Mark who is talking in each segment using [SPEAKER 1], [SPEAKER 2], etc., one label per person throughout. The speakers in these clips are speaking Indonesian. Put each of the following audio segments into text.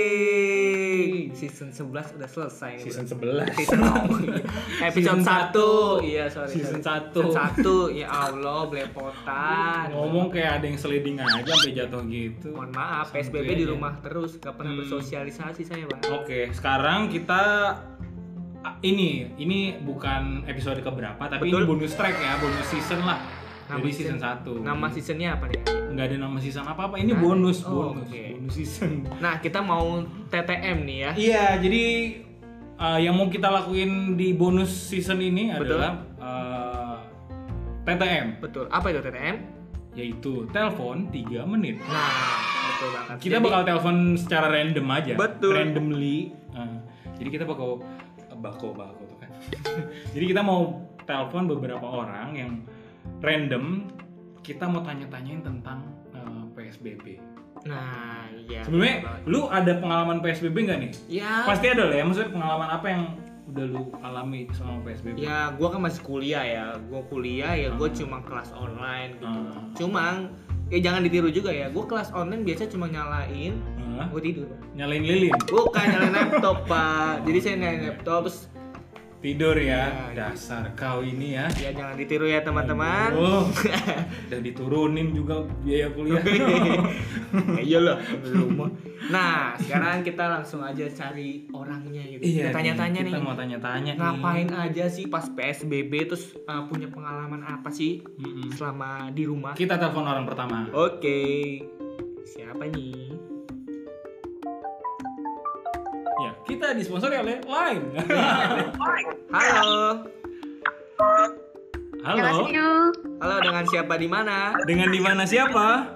[SPEAKER 1] Hehehe.
[SPEAKER 2] Season 11 udah selesai nih,
[SPEAKER 1] Season
[SPEAKER 2] Bro.
[SPEAKER 1] 11.
[SPEAKER 2] Season
[SPEAKER 1] Season
[SPEAKER 2] Episode 1. Iya, sorry.
[SPEAKER 1] Season
[SPEAKER 2] sorry.
[SPEAKER 1] satu.
[SPEAKER 2] Season 1. Ya Allah, belepotan.
[SPEAKER 1] Ngomong kayak ada yang sliding aja sampai jatuh gitu.
[SPEAKER 2] Mohon maaf,
[SPEAKER 1] Santuy
[SPEAKER 2] PSBB di
[SPEAKER 1] aja.
[SPEAKER 2] rumah terus, gak pernah
[SPEAKER 1] Hmm.
[SPEAKER 2] bersosialisasi saya, Pak.
[SPEAKER 1] Oke, sekarang kita ah, ini ini bukan episode keberapa tapi ini
[SPEAKER 2] Betul.
[SPEAKER 1] bonus track ya, bonus season lah.
[SPEAKER 2] Nama
[SPEAKER 1] Jadi
[SPEAKER 2] season-
[SPEAKER 1] season 1.
[SPEAKER 2] Nama seasonnya apa nih?
[SPEAKER 1] nggak ada nama season apa-apa, ini
[SPEAKER 2] Nggak ada.
[SPEAKER 1] bonus,
[SPEAKER 2] Oh,
[SPEAKER 1] bonus,
[SPEAKER 2] oke.
[SPEAKER 1] bonus season.
[SPEAKER 2] Nah, kita mau TTM nih ya.
[SPEAKER 1] Iya, jadi eh, yang mau kita lakuin di bonus season ini
[SPEAKER 2] Betul.
[SPEAKER 1] adalah eh, TTM,
[SPEAKER 2] Betul. Apa itu TTM?
[SPEAKER 1] yaitu telepon 3 menit.
[SPEAKER 2] Nah, betul banget.
[SPEAKER 1] Kita
[SPEAKER 2] Jadi-
[SPEAKER 1] bakal telepon secara random aja.
[SPEAKER 2] Betul.
[SPEAKER 1] Randomly. Eh, jadi kita bakal eh, bako bako tuh kan. jadi kita mau telepon beberapa orang yang random kita mau tanya-tanyain tentang eh, PSBB.
[SPEAKER 2] Nah, iya. betul
[SPEAKER 1] Sebenarnya
[SPEAKER 2] banget.
[SPEAKER 1] lu ada pengalaman PSBB nggak nih?
[SPEAKER 2] ya
[SPEAKER 1] Pasti ada lah ya. Maksudnya pengalaman apa yang udah lu alami selama PSBB?
[SPEAKER 2] Ya, gua kan masih kuliah ya. Gua kuliah ya, gua
[SPEAKER 1] Hmm.
[SPEAKER 2] cuma kelas online gitu.
[SPEAKER 1] Hmm.
[SPEAKER 2] Cuma ya jangan ditiru juga ya. Gua kelas online biasa cuma nyalain,
[SPEAKER 1] Hah?
[SPEAKER 2] gua tidur.
[SPEAKER 1] nyalain lilin,
[SPEAKER 2] Bukan nyalain laptop, Pak. Jadi saya nyalain laptop terus
[SPEAKER 1] tidur ya.
[SPEAKER 2] Ya,
[SPEAKER 1] Dasar kau ini ya.
[SPEAKER 2] ya jangan ditiru ya, teman-teman.
[SPEAKER 1] Oh, udah diturunin juga biaya kuliah.
[SPEAKER 2] Ya iyalah, rumah. Nah, sekarang kita langsung aja cari orangnya gitu. Kita tanya-tanya nih.
[SPEAKER 1] Iya, Kita mau tanya-tanya nih.
[SPEAKER 2] Ngapain aja sih pas PSBB terus uh, punya pengalaman apa sih
[SPEAKER 1] Mm-mm.
[SPEAKER 2] selama di rumah?
[SPEAKER 1] Kita telepon orang pertama.
[SPEAKER 2] Oke. Siapa nih?
[SPEAKER 1] Ya, kita disponsori oleh Line.
[SPEAKER 2] Halo.
[SPEAKER 1] Halo.
[SPEAKER 2] Halo dengan siapa di mana?
[SPEAKER 1] Dengan di mana siapa?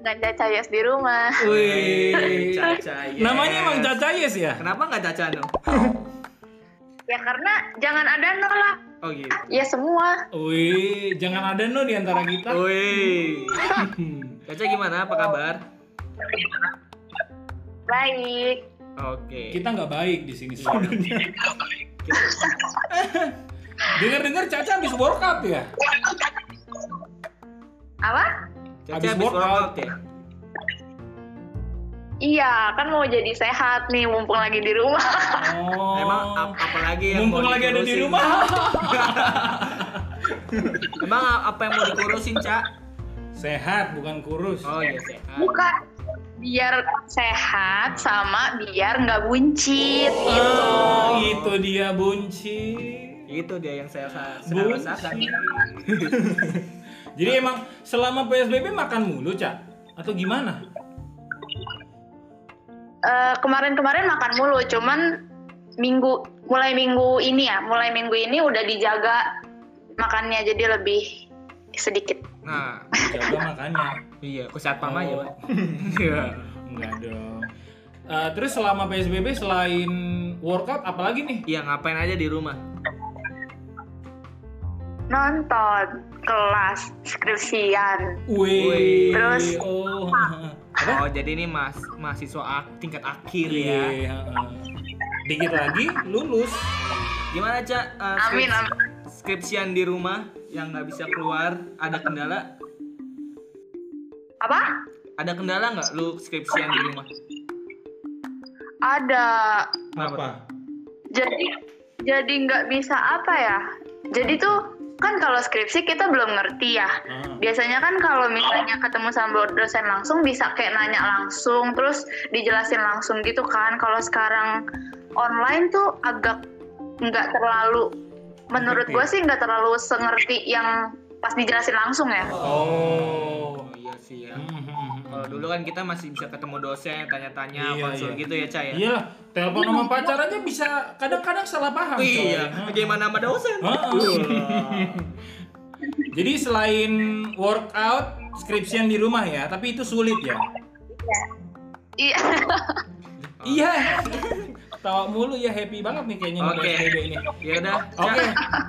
[SPEAKER 3] Ganda Cayas di rumah.
[SPEAKER 1] Wih.
[SPEAKER 2] Caca. yes.
[SPEAKER 1] Namanya emang Caca Yes ya?
[SPEAKER 2] Kenapa nggak Caca no?
[SPEAKER 3] Ya karena jangan ada nol lah.
[SPEAKER 2] Oh gitu.
[SPEAKER 3] Ya semua.
[SPEAKER 1] Wih, jangan ada no di antara kita.
[SPEAKER 2] Woi.
[SPEAKER 1] Hmm.
[SPEAKER 2] Caca gimana? Apa kabar?
[SPEAKER 3] Baik.
[SPEAKER 2] Oke.
[SPEAKER 1] Kita nggak baik di sini sebenarnya. Dengar-dengar Caca habis workout ya?
[SPEAKER 3] Apa?
[SPEAKER 2] Caca
[SPEAKER 1] Habis
[SPEAKER 2] habis
[SPEAKER 1] workout.
[SPEAKER 2] workout ya.
[SPEAKER 3] Iya, kan mau jadi sehat nih mumpung lagi di rumah.
[SPEAKER 1] Oh.
[SPEAKER 2] Emang ap- apa lagi yang
[SPEAKER 1] mumpung
[SPEAKER 2] mau
[SPEAKER 1] lagi ada di
[SPEAKER 2] dikurusin?
[SPEAKER 1] rumah.
[SPEAKER 2] Emang a- apa yang mau dikurusin, Cak?
[SPEAKER 1] Sehat bukan kurus.
[SPEAKER 2] Oh iya sehat.
[SPEAKER 3] Bukan biar sehat sama biar nggak buncit gitu.
[SPEAKER 1] Oh, itu dia bunci.
[SPEAKER 2] Itu dia yang saya sa-
[SPEAKER 1] Bun.
[SPEAKER 2] sedang rasakan.
[SPEAKER 1] Jadi emang selama PSBB makan mulu, Cak? Atau gimana?
[SPEAKER 3] Eh, Kemarin-kemarin makan mulu, cuman minggu mulai minggu ini ya, mulai minggu ini udah dijaga makannya jadi lebih sedikit.
[SPEAKER 2] Nah,
[SPEAKER 1] Jaga makannya.
[SPEAKER 2] iya, ke satpam aja,
[SPEAKER 1] Oh.
[SPEAKER 2] Pak. Iya.
[SPEAKER 1] Enggak dong. Eh, terus selama PSBB selain workout apalagi nih?
[SPEAKER 2] Iya, ngapain aja di rumah?
[SPEAKER 3] Nonton kelas skripsian.
[SPEAKER 1] Wih.
[SPEAKER 3] Terus?
[SPEAKER 1] Oh.
[SPEAKER 2] Oh, jadi ini mas mahasiswa ak- tingkat akhir
[SPEAKER 1] Iya.
[SPEAKER 2] ya.
[SPEAKER 1] heeh. Dikit lagi lulus.
[SPEAKER 2] Gimana, Cak? Eh,
[SPEAKER 3] Amin,
[SPEAKER 2] skrips-
[SPEAKER 3] amin.
[SPEAKER 2] Skripsian di rumah yang nggak bisa keluar, ada kendala?
[SPEAKER 3] Apa?
[SPEAKER 2] Ada kendala nggak lu skripsian di rumah?
[SPEAKER 3] Ada.
[SPEAKER 1] Apa?
[SPEAKER 3] Jadi jadi nggak bisa apa ya? Jadi tuh kan kalau skripsi kita belum ngerti ya.
[SPEAKER 1] Ah.
[SPEAKER 3] Biasanya kan kalau misalnya ketemu sama dosen langsung bisa kayak nanya langsung terus dijelasin langsung gitu kan. Kalau sekarang online tuh agak nggak terlalu menurut gue sih nggak terlalu sengerti yang pas dijelasin langsung ya.
[SPEAKER 1] Oh.
[SPEAKER 2] Oh iya sih ya. Kalau
[SPEAKER 1] Kalau
[SPEAKER 2] dulu kan kita masih bisa ketemu dosen, tanya-tanya,
[SPEAKER 1] Iya,
[SPEAKER 2] konsul
[SPEAKER 1] iya.
[SPEAKER 2] gitu ya, Cak ya?
[SPEAKER 1] Iyalah, telepon sama pacar aja bisa kadang-kadang salah paham.
[SPEAKER 2] Iya,
[SPEAKER 1] coy.
[SPEAKER 2] bagaimana sama dosen?
[SPEAKER 1] Heeh. Jadi selain workout, skripsian di rumah ya, tapi itu sulit ya.
[SPEAKER 3] Iya.
[SPEAKER 1] Iya. Tawa mulu ya happy banget nih kayaknya
[SPEAKER 2] Oke.
[SPEAKER 1] ngebahas video ini.
[SPEAKER 2] Ya udah, Cak.
[SPEAKER 1] Oke.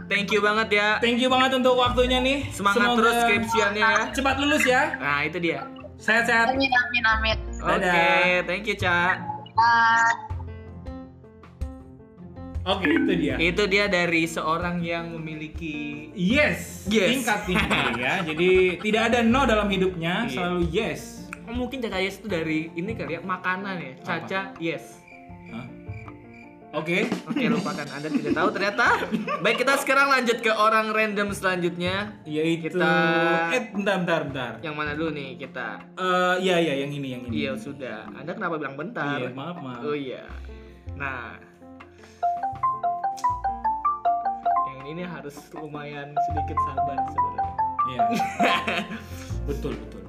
[SPEAKER 2] Thank you banget ya.
[SPEAKER 1] Thank you banget untuk waktunya nih.
[SPEAKER 2] Semangat
[SPEAKER 1] Semoga
[SPEAKER 2] terus skripsiannya ya.
[SPEAKER 1] Cepat lulus ya.
[SPEAKER 2] Nah, itu dia.
[SPEAKER 1] Sehat-sehat.
[SPEAKER 3] Amin amin amin.
[SPEAKER 1] Dadah.
[SPEAKER 2] Oke, thank you, Cak.
[SPEAKER 3] Ah,
[SPEAKER 1] Oke, itu dia.
[SPEAKER 2] Itu dia dari seorang yang memiliki
[SPEAKER 1] Yes.
[SPEAKER 2] Yes.
[SPEAKER 1] Tingkat tinggi ya. Jadi tidak ada no dalam hidupnya,
[SPEAKER 2] Iya.
[SPEAKER 1] selalu yes.
[SPEAKER 2] mungkin caca yes itu dari ini kali ya makanan ya caca yes
[SPEAKER 1] Hah? Oke.
[SPEAKER 2] Oke lupakan Anda tidak tahu ternyata. Baik kita sekarang lanjut ke orang random selanjutnya.
[SPEAKER 1] Yaitu
[SPEAKER 2] Kita-
[SPEAKER 1] eh bentar bentar bentar.
[SPEAKER 2] Yang mana dulu nih kita?
[SPEAKER 1] Eh iya iya yang ini yang ini.
[SPEAKER 2] Iya sudah. Anda kenapa bilang bentar?
[SPEAKER 1] Iya, maaf maaf.
[SPEAKER 2] Oh iya. Nah. Yang ini harus lumayan sedikit sabar sebenarnya.
[SPEAKER 1] Iya. betul betul.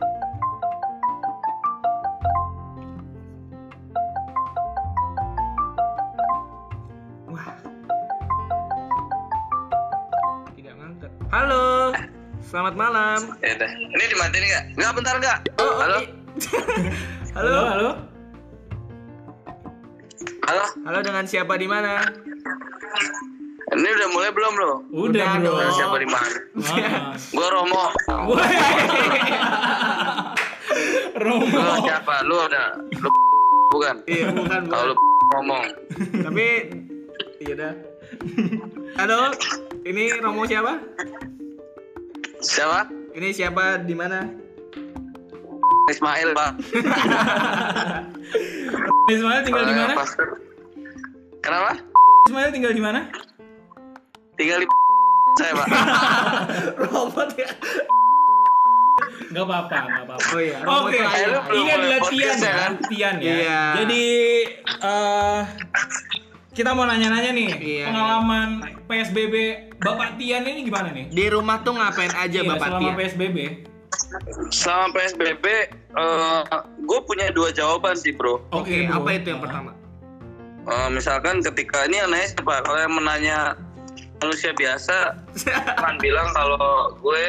[SPEAKER 2] Wah. Tidak mantap. Halo. Selamat malam.
[SPEAKER 4] Ya udah. Ini dimatiin nggak? Nggak bentar nggak?
[SPEAKER 2] Oh, oh,
[SPEAKER 4] Halo?
[SPEAKER 2] i- Halo.
[SPEAKER 1] halo. halo?
[SPEAKER 4] Halo?
[SPEAKER 2] Halo dengan siapa di mana?
[SPEAKER 4] Ini udah mulai belum lo?
[SPEAKER 1] Udah,
[SPEAKER 2] Udah
[SPEAKER 1] bro.
[SPEAKER 2] dong.
[SPEAKER 4] Siapa di mana?
[SPEAKER 1] Ah.
[SPEAKER 4] Gua Romo.
[SPEAKER 1] Woi. Romo.
[SPEAKER 4] Lu siapa? Lu udah lu bukan?
[SPEAKER 2] Iya, bukan. bukan.
[SPEAKER 4] Kalau lu ngomong.
[SPEAKER 2] Tapi iya dah. Halo, ini Romo siapa?
[SPEAKER 4] Siapa?
[SPEAKER 2] Ini siapa di mana?
[SPEAKER 4] Ismail, Pak.
[SPEAKER 1] Ismail tinggal di mana?
[SPEAKER 4] Pastor. Kenapa?
[SPEAKER 1] Ismail tinggal di mana?
[SPEAKER 4] Tinggal di saya, Pak.
[SPEAKER 2] Robot ya.
[SPEAKER 1] Gak apa-apa, gak apa-apa.
[SPEAKER 2] Oh iya, Romo
[SPEAKER 1] Oke,
[SPEAKER 2] itu Iya.
[SPEAKER 4] Eh, lu
[SPEAKER 2] ayah.
[SPEAKER 4] belum
[SPEAKER 1] ini adalah Tian
[SPEAKER 4] mulai podcast ya,
[SPEAKER 1] ya,
[SPEAKER 4] kan?
[SPEAKER 1] Tian ya.
[SPEAKER 2] Iya.
[SPEAKER 1] Jadi eh kita mau nanya-nanya nih,
[SPEAKER 2] Iya.
[SPEAKER 1] pengalaman PSBB Bapak Tian ini gimana nih?
[SPEAKER 2] Di rumah tuh ngapain aja
[SPEAKER 1] Iya,
[SPEAKER 2] Bapak
[SPEAKER 1] selama
[SPEAKER 2] Tia?
[SPEAKER 1] PSBB.
[SPEAKER 4] Selama PSBB, eh gue punya dua jawaban sih, bro.
[SPEAKER 2] Oke,
[SPEAKER 1] bro.
[SPEAKER 2] apa itu yang
[SPEAKER 1] Ah.
[SPEAKER 2] pertama?
[SPEAKER 4] Eh, misalkan ketika ini aneh siapa? Kalau yang menanya manusia biasa, kan bilang kalau gue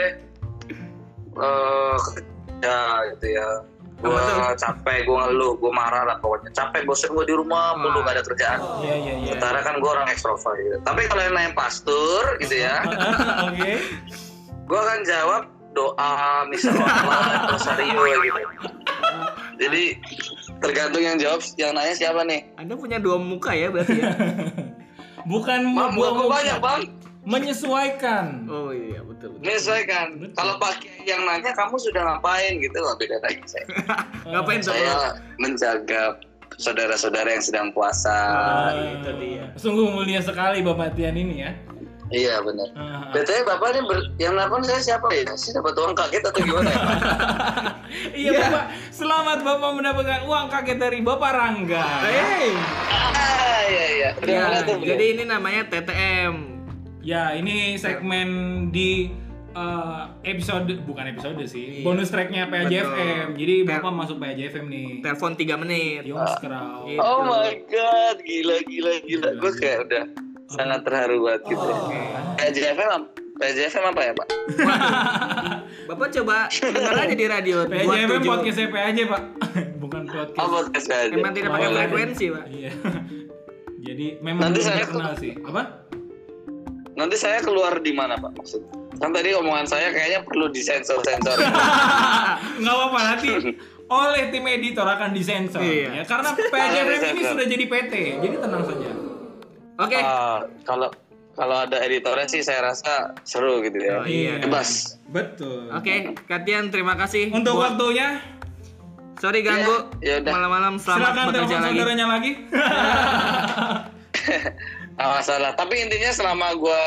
[SPEAKER 4] eh kerja gitu ya gue
[SPEAKER 2] Apa
[SPEAKER 4] capek gue ngeluh gue marah lah pokoknya capek bosen gue di rumah mulu gak ada kerjaan
[SPEAKER 1] Iya, iya, iya.
[SPEAKER 4] sementara kan gue orang ekstrovert gitu. tapi kalau yang nanya pastur gitu ya
[SPEAKER 1] Oke.
[SPEAKER 4] gue akan jawab doa misalnya Allah, rosario gitu jadi tergantung yang jawab yang nanya siapa nih
[SPEAKER 2] Anda punya dua muka ya berarti ya?
[SPEAKER 1] Bukan membuang
[SPEAKER 4] Mam, gua gua
[SPEAKER 1] muka,
[SPEAKER 4] banyak bang
[SPEAKER 1] menyesuaikan.
[SPEAKER 2] Oh iya, betul betul.
[SPEAKER 4] menyesuaikan kan, kalau pagi yang nanya kamu sudah ngapain gitu loh beda lagi saya
[SPEAKER 2] Ngapain tuh? Bro?
[SPEAKER 4] saya menjaga saudara-saudara yang sedang puasa.
[SPEAKER 2] Ah.
[SPEAKER 1] Eh,
[SPEAKER 2] itu dia.
[SPEAKER 1] Sungguh mulia sekali Bapak Tian ini ya.
[SPEAKER 4] Iya benar.
[SPEAKER 1] Ah, ah.
[SPEAKER 4] Betulnya bapak ini ber- yang nelfon saya siapa ya? Saya dapat uang kaget atau gimana? ya, Pak?
[SPEAKER 1] Iya Bapak, selamat Bapak mendapatkan uang kaget dari Bapak Rangga.
[SPEAKER 2] Hey.
[SPEAKER 4] ah iya iya. Udah
[SPEAKER 2] Ya,
[SPEAKER 4] mulai tuh, Bu.
[SPEAKER 2] jadi ini namanya TTM.
[SPEAKER 1] Ya, ini segmen di eh, episode bukan episode sih,
[SPEAKER 2] Iya.
[SPEAKER 1] bonus tracknya PJFM.
[SPEAKER 2] Betul.
[SPEAKER 1] Jadi
[SPEAKER 2] Ter-
[SPEAKER 1] Bapak masuk PJFM nih.
[SPEAKER 2] Telepon 3 menit.
[SPEAKER 1] Yung Scrow.
[SPEAKER 2] Iya.
[SPEAKER 4] Oh my god, gila gila gila. Gue kayak udah sangat terharu banget gitu. PJFM apa? PJFM apa ya pak?
[SPEAKER 2] Bapak coba dengar aja di radio. buat
[SPEAKER 1] PJFM
[SPEAKER 2] tujuh-
[SPEAKER 1] podcast CP aja, Pak. bukan podcast.
[SPEAKER 4] Oh podcast aja.
[SPEAKER 2] Emang tidak pakai
[SPEAKER 1] Bawalan.
[SPEAKER 2] frekuensi, Pak.
[SPEAKER 1] Iya. Jadi memang
[SPEAKER 4] Nanti
[SPEAKER 1] belum
[SPEAKER 4] saya-
[SPEAKER 1] terkenal sih. Apa?
[SPEAKER 4] Nanti saya keluar di mana pak? Maksud? Kan tadi omongan saya kayaknya perlu disensor-sensor.
[SPEAKER 1] Nggak apa-apa nanti oleh tim editor akan disensor ya.
[SPEAKER 2] Iya.
[SPEAKER 1] Karena PJFM ini
[SPEAKER 4] Disensor.
[SPEAKER 1] sudah jadi PT, jadi tenang saja.
[SPEAKER 2] Oke.
[SPEAKER 4] Ah, kalau kalau ada editornya sih saya rasa seru gitu
[SPEAKER 2] Oh,
[SPEAKER 4] ya.
[SPEAKER 2] iya.
[SPEAKER 4] Bebas.
[SPEAKER 1] Betul.
[SPEAKER 2] Oke, Katian terima kasih.
[SPEAKER 1] Untuk
[SPEAKER 2] Buat-
[SPEAKER 1] waktunya
[SPEAKER 2] Sorry ganggu.
[SPEAKER 4] Iya, yaudah.
[SPEAKER 2] Malam-malam selamat
[SPEAKER 1] silakan
[SPEAKER 2] bekerja
[SPEAKER 1] telepon
[SPEAKER 2] lagi.
[SPEAKER 1] saudaranya lagi.
[SPEAKER 4] Nggak masalah. Tapi intinya selama gua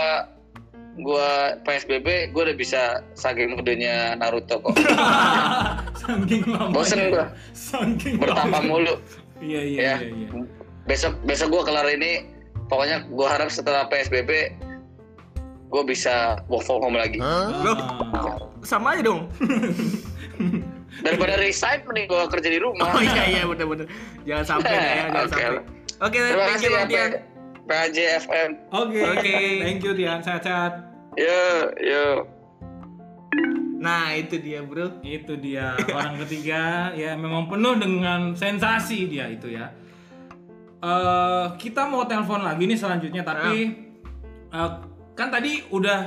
[SPEAKER 4] gua PSBB gua udah bisa saking mudanya Naruto kok.
[SPEAKER 1] Saking lama.
[SPEAKER 4] Bosen gua.
[SPEAKER 1] Saking
[SPEAKER 4] Bertambah
[SPEAKER 1] lama.
[SPEAKER 4] mulu
[SPEAKER 1] Iya iya
[SPEAKER 4] ya.
[SPEAKER 1] iya iya.
[SPEAKER 4] Besok besok gua kelar ini pokoknya gua harap setelah PSBB gua bisa work from home lagi.
[SPEAKER 2] Loh,
[SPEAKER 1] Ah.
[SPEAKER 2] sama aja dong.
[SPEAKER 4] Daripada resign mending gua kerja di
[SPEAKER 2] Oh
[SPEAKER 4] rumah.
[SPEAKER 2] iya iya bener-bener. Jangan sampai dah ya, jangan
[SPEAKER 4] Oke.
[SPEAKER 2] sampai. Oke, thank
[SPEAKER 4] Terima
[SPEAKER 2] you
[SPEAKER 4] kasih ya
[SPEAKER 2] Katian.
[SPEAKER 4] PJFM.
[SPEAKER 1] Oke.
[SPEAKER 2] Oke.
[SPEAKER 1] Thank you Tian, sehat-sehat.
[SPEAKER 4] Yo yo.
[SPEAKER 2] Nah, itu dia, Bro.
[SPEAKER 1] Itu dia orang ketiga ya memang penuh dengan sensasi dia itu ya. eh kita mau telepon lagi nih selanjutnya tapi eh, kan tadi udah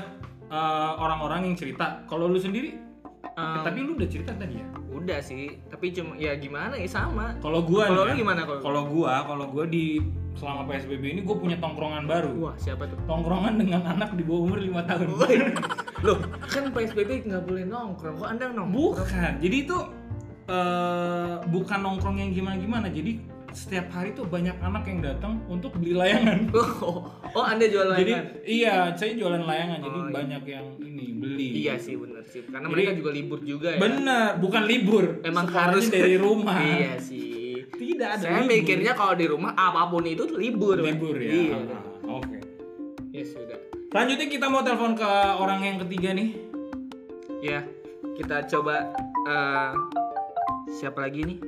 [SPEAKER 1] eh, orang-orang yang cerita. Kalau lu sendiri, eh,
[SPEAKER 2] Em,
[SPEAKER 1] tapi lu udah cerita tadi ya.
[SPEAKER 2] Udah sih, tapi cuma ya gimana ya sama.
[SPEAKER 1] Kalau gua
[SPEAKER 2] Kalau
[SPEAKER 1] nih ya,
[SPEAKER 2] lu gimana kalau?
[SPEAKER 1] Kalau gua, kalau gua di selama PSBB ini gua punya tongkrongan baru.
[SPEAKER 2] Wah, siapa tuh?
[SPEAKER 1] Tongkrongan dengan anak di bawah umur 5 tahun.
[SPEAKER 2] Loh, kan PSBB nggak boleh nongkrong. Kok Anda nongkrong?
[SPEAKER 1] Bukan. Jadi itu eh, bukan nongkrong yang gimana-gimana. Jadi setiap hari tuh banyak anak yang datang untuk beli layangan.
[SPEAKER 2] Oh, oh Anda jual
[SPEAKER 1] Jadi
[SPEAKER 2] layangan.
[SPEAKER 1] iya, saya jualan layangan. Jadi
[SPEAKER 2] Oh, iya.
[SPEAKER 1] banyak yang ini beli.
[SPEAKER 2] Iya sih bener sih. Karena
[SPEAKER 1] Jadi-
[SPEAKER 2] mereka juga libur juga ya.
[SPEAKER 1] Bener, bukan libur.
[SPEAKER 2] Emang
[SPEAKER 1] Sekolahnya
[SPEAKER 2] harus
[SPEAKER 1] dari rumah.
[SPEAKER 2] iya sih.
[SPEAKER 1] Tidak ada.
[SPEAKER 2] Saya
[SPEAKER 1] libur.
[SPEAKER 2] mikirnya kalau di rumah apapun itu libur. Pak.
[SPEAKER 1] libur ya.
[SPEAKER 2] Iya.
[SPEAKER 1] Ah, Oke.
[SPEAKER 2] Ya sudah.
[SPEAKER 1] Selanjutnya kita mau telepon ke orang yang ketiga nih.
[SPEAKER 2] Ya, kita coba eh, siapa lagi nih?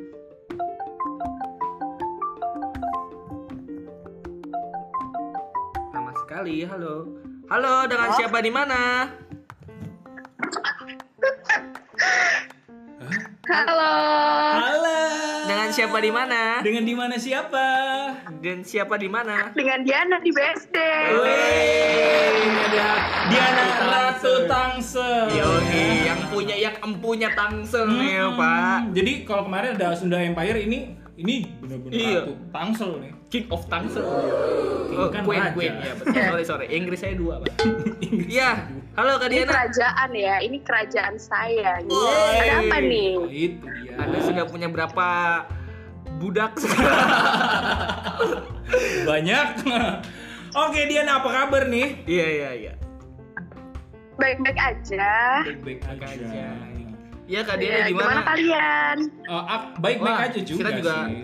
[SPEAKER 2] Lama sekali. Halo. Halo, dengan siapa di mana?
[SPEAKER 3] Halo.
[SPEAKER 1] Halo.
[SPEAKER 2] Dengan siapa di mana?
[SPEAKER 1] Dengan di mana siapa?
[SPEAKER 2] Dan siapa di mana?
[SPEAKER 3] Dengan Diana di BSD.
[SPEAKER 1] Wey, ini ada Diana Ratu Tangsel.
[SPEAKER 2] Iya, Yoi, yang punya yang empunya Tangsel ya,
[SPEAKER 1] Hmm,
[SPEAKER 2] Pak.
[SPEAKER 1] Jadi kalau kemarin ada Sunda Empire ini ini benar-benar
[SPEAKER 2] Iya.
[SPEAKER 1] Ratu Tangsel nih.
[SPEAKER 2] King of Tangsel.
[SPEAKER 1] King
[SPEAKER 2] Oh,
[SPEAKER 1] kan
[SPEAKER 2] Queen,
[SPEAKER 1] raja.
[SPEAKER 2] Queen ya, betul. Sorry, sorry. Inggris saya dua, Pak. Iya. Halo, Kak
[SPEAKER 3] Ini
[SPEAKER 2] Diana.
[SPEAKER 3] kerajaan ya, ini kerajaan saya. gitu.
[SPEAKER 2] Woi.
[SPEAKER 3] Ada apa nih?
[SPEAKER 1] Nah, Itu dia.
[SPEAKER 2] Anda sudah
[SPEAKER 3] Hmm.
[SPEAKER 2] punya berapa budak?
[SPEAKER 1] banyak. Oke Diana apa kabar nih?
[SPEAKER 2] Iya, iya, iya.
[SPEAKER 3] Baik-baik aja.
[SPEAKER 1] Baik-baik
[SPEAKER 2] aja.
[SPEAKER 1] aja.
[SPEAKER 2] Iya, Kak
[SPEAKER 3] Ya,
[SPEAKER 2] Diana di
[SPEAKER 3] gimana
[SPEAKER 2] mana?
[SPEAKER 3] kalian?
[SPEAKER 1] Eh, ak- baik-baik
[SPEAKER 2] Wah,
[SPEAKER 1] aja juga,
[SPEAKER 2] kita juga
[SPEAKER 1] sih.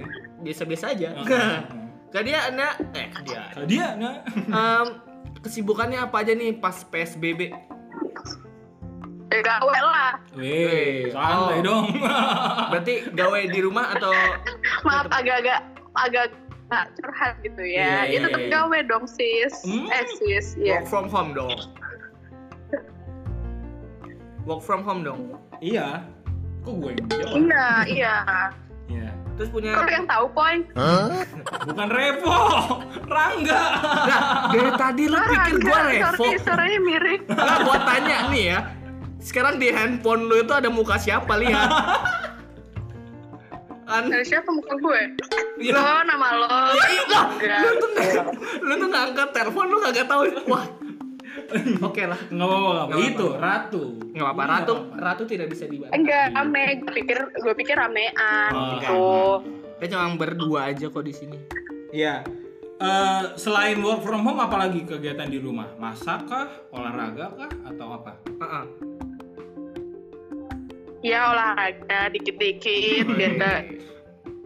[SPEAKER 2] biasa-biasa aja.
[SPEAKER 3] Hmm.
[SPEAKER 1] Heeh.
[SPEAKER 2] Kak Diana, eh Kak Diana.
[SPEAKER 1] Kalau dia nah.
[SPEAKER 2] Em, kesibukannya apa aja nih pas PSBB?
[SPEAKER 3] Ya, gawe lah.
[SPEAKER 1] Weh,
[SPEAKER 2] Weh,
[SPEAKER 1] santai
[SPEAKER 2] oh.
[SPEAKER 1] dong.
[SPEAKER 2] Berarti gawe di rumah atau
[SPEAKER 3] Maaf agak-agak agak agak curhat gitu
[SPEAKER 2] Iya,
[SPEAKER 3] ya.
[SPEAKER 2] iya,
[SPEAKER 3] Ya tetap
[SPEAKER 2] iya.
[SPEAKER 3] gawe dong sis.
[SPEAKER 1] Hmm.
[SPEAKER 3] Eh sis, ya.
[SPEAKER 2] work from home dong? Work from home dong.
[SPEAKER 1] iya. Kok gue yang
[SPEAKER 2] Oh.
[SPEAKER 1] jawab?
[SPEAKER 3] Iya, iya.
[SPEAKER 1] Iya.
[SPEAKER 2] Terus punya
[SPEAKER 3] Kau yang tahu poin?
[SPEAKER 1] Bukan Revo, Rangga.
[SPEAKER 2] Lah, dari tadi lu pikir gua revo.
[SPEAKER 3] Sorry, suaranya mirip.
[SPEAKER 2] Lah gua tanya nih ya. Sekarang di handphone lu itu ada muka siapa lihat? Kan
[SPEAKER 3] Dari siapa muka gue?
[SPEAKER 2] Iya.
[SPEAKER 3] Lo, nama lo.
[SPEAKER 2] Ih, lah,
[SPEAKER 3] Enggak.
[SPEAKER 2] lu tuh lu tuh ngangkat telepon lu kagak tahu. Wah. Oke lah.
[SPEAKER 1] Enggak apa-apa, nggak apa-apa.
[SPEAKER 2] Nggak
[SPEAKER 1] Itu Ratu.
[SPEAKER 2] Enggak apa-apa,
[SPEAKER 1] Ini
[SPEAKER 2] Ratu,
[SPEAKER 1] nggak
[SPEAKER 2] Ratu tidak bisa dibantah.
[SPEAKER 3] Enggak, rame. Gue pikir, gue pikir ramean
[SPEAKER 2] Oh,
[SPEAKER 1] apa-apa.
[SPEAKER 3] gitu.
[SPEAKER 2] Kita cuma berdua aja kok di sini.
[SPEAKER 1] Iya. Eh, selain work from home apalagi kegiatan di rumah? Masak kah, olahraga kah atau apa?
[SPEAKER 2] Heeh.
[SPEAKER 3] Ya olahraga dikit-dikit biar gak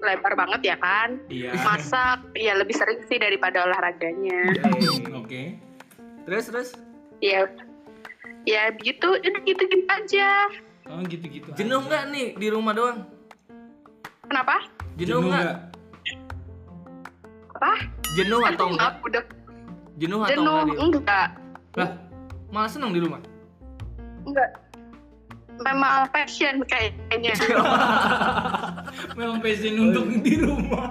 [SPEAKER 3] lebar banget ya kan.
[SPEAKER 1] Iya.
[SPEAKER 3] Masak ya lebih sering sih daripada olahraganya.
[SPEAKER 1] Oke.
[SPEAKER 2] Terus terus
[SPEAKER 3] Ya ya begitu, udah gitu-gitu aja.
[SPEAKER 1] Oh, gitu-gitu.
[SPEAKER 2] jenuh
[SPEAKER 1] aja.
[SPEAKER 2] nggak nih di rumah doang?
[SPEAKER 3] Kenapa?
[SPEAKER 2] Jenuh nggak?
[SPEAKER 3] Apa?
[SPEAKER 2] Jenuh atau
[SPEAKER 3] Aduh,
[SPEAKER 2] enggak?
[SPEAKER 3] Udah
[SPEAKER 2] Jenuh atau
[SPEAKER 3] jenuh
[SPEAKER 2] enggak? di-
[SPEAKER 3] enggak?
[SPEAKER 2] Lah, malah seneng di rumah.
[SPEAKER 3] Enggak. Memang passion kayaknya.
[SPEAKER 1] Memang passion untuk di rumah.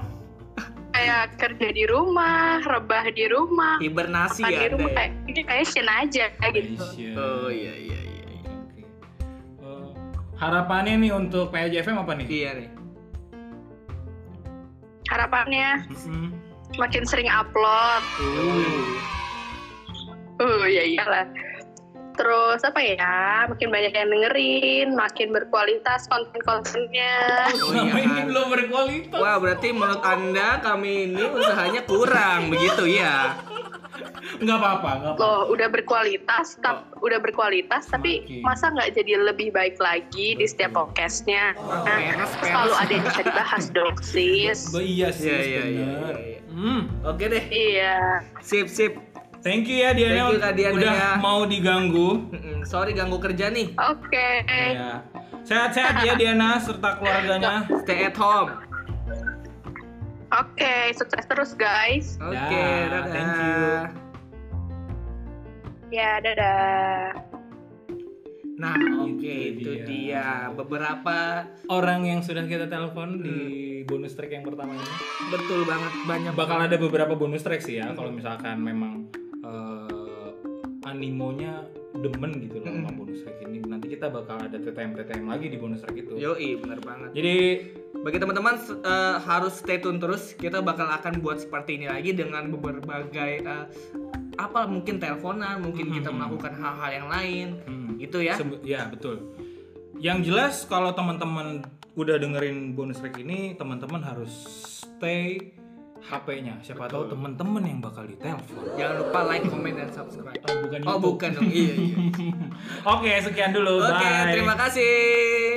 [SPEAKER 3] kayak kerja di rumah, rebah di rumah,
[SPEAKER 2] Hibernasi
[SPEAKER 3] makan
[SPEAKER 2] ya.
[SPEAKER 3] di
[SPEAKER 2] Anda
[SPEAKER 3] rumah
[SPEAKER 2] ya?
[SPEAKER 3] eh? kayak ini passion aja kayak gitu.
[SPEAKER 1] Passion.
[SPEAKER 2] Oh iya iya iya. iya.
[SPEAKER 1] Oke. Eh, harapannya nih untuk PJFM apa nih?
[SPEAKER 2] Iya nih.
[SPEAKER 3] Harapannya
[SPEAKER 1] Mm-mm.
[SPEAKER 3] makin sering upload. Uh, ya iyalah. Terus apa ya? Makin banyak yang dengerin, makin berkualitas konten-kontennya.
[SPEAKER 2] Oh iya.
[SPEAKER 1] Selama ini
[SPEAKER 2] Har.
[SPEAKER 1] belum berkualitas.
[SPEAKER 2] Wah, berarti menurut Anda kami ini usahanya kurang begitu ya.
[SPEAKER 1] Nggak apa-apa, nggak apa-apa.
[SPEAKER 3] Loh, udah berkualitas, tap, udah berkualitas, tapi
[SPEAKER 1] Oke.
[SPEAKER 3] masa nggak jadi lebih baik lagi di setiap podcastnya? Nah,
[SPEAKER 2] peres, peres.
[SPEAKER 3] selalu ada yang bisa dibahas dong, sis.
[SPEAKER 1] Ba- Iya sih,
[SPEAKER 2] Iya, iya,
[SPEAKER 1] bener.
[SPEAKER 2] iya, iya, iya.
[SPEAKER 1] Hmm.
[SPEAKER 2] Oke deh.
[SPEAKER 3] Iya.
[SPEAKER 2] Sip, sip.
[SPEAKER 1] Thank you ya Diana,
[SPEAKER 2] Thank you, Kak Diana,
[SPEAKER 1] udah
[SPEAKER 2] ya.
[SPEAKER 1] mau diganggu.
[SPEAKER 2] Mm-mm, Sorry ganggu kerja nih.
[SPEAKER 3] Oke.
[SPEAKER 1] Ya. Sehat-sehat ya Diana serta keluarganya.
[SPEAKER 2] Stay at home.
[SPEAKER 3] Oke, sukses terus guys.
[SPEAKER 2] Oke,
[SPEAKER 1] Dah,
[SPEAKER 2] dadah.
[SPEAKER 1] thank you.
[SPEAKER 3] Ya, dadah.
[SPEAKER 2] Nah, oke itu
[SPEAKER 1] Itu
[SPEAKER 2] dia.
[SPEAKER 1] dia.
[SPEAKER 2] Beberapa
[SPEAKER 1] Orang yang sudah kita telepon di bonus track yang pertama ini. Ya,
[SPEAKER 2] betul banget banyak
[SPEAKER 1] Bakal ada beberapa bonus track sih ya kalau misalkan memang eh, animonya demen gitu loh
[SPEAKER 2] Hmm.
[SPEAKER 1] sama bonus track ini. Nanti kita bakal ada TTM-TTM lagi di bonus track itu.
[SPEAKER 2] Yoi, bener banget.
[SPEAKER 1] Jadi
[SPEAKER 2] Bagi teman-teman s- eh, harus stay tune terus. Kita bakal akan buat seperti ini lagi dengan berbagai eh, apa mungkin teleponan, mungkin kita
[SPEAKER 1] Hmm.
[SPEAKER 2] melakukan hal-hal yang lain.
[SPEAKER 1] hmm,
[SPEAKER 2] Gitu ya.
[SPEAKER 1] Sebe- ya betul. Yang jelas kalau teman-teman udah dengerin bonus track ini teman-teman harus stay HP-nya. Siapa tahu teman-teman yang bakal ditelepon.
[SPEAKER 2] Jangan lupa like, comment, dan subscribe.
[SPEAKER 1] Oh, bukan
[SPEAKER 2] Oh
[SPEAKER 1] YouTube.
[SPEAKER 2] bukan dong, iya iya.
[SPEAKER 1] Oke, sekian dulu.
[SPEAKER 2] Oke,
[SPEAKER 1] Bye.
[SPEAKER 2] terima kasih.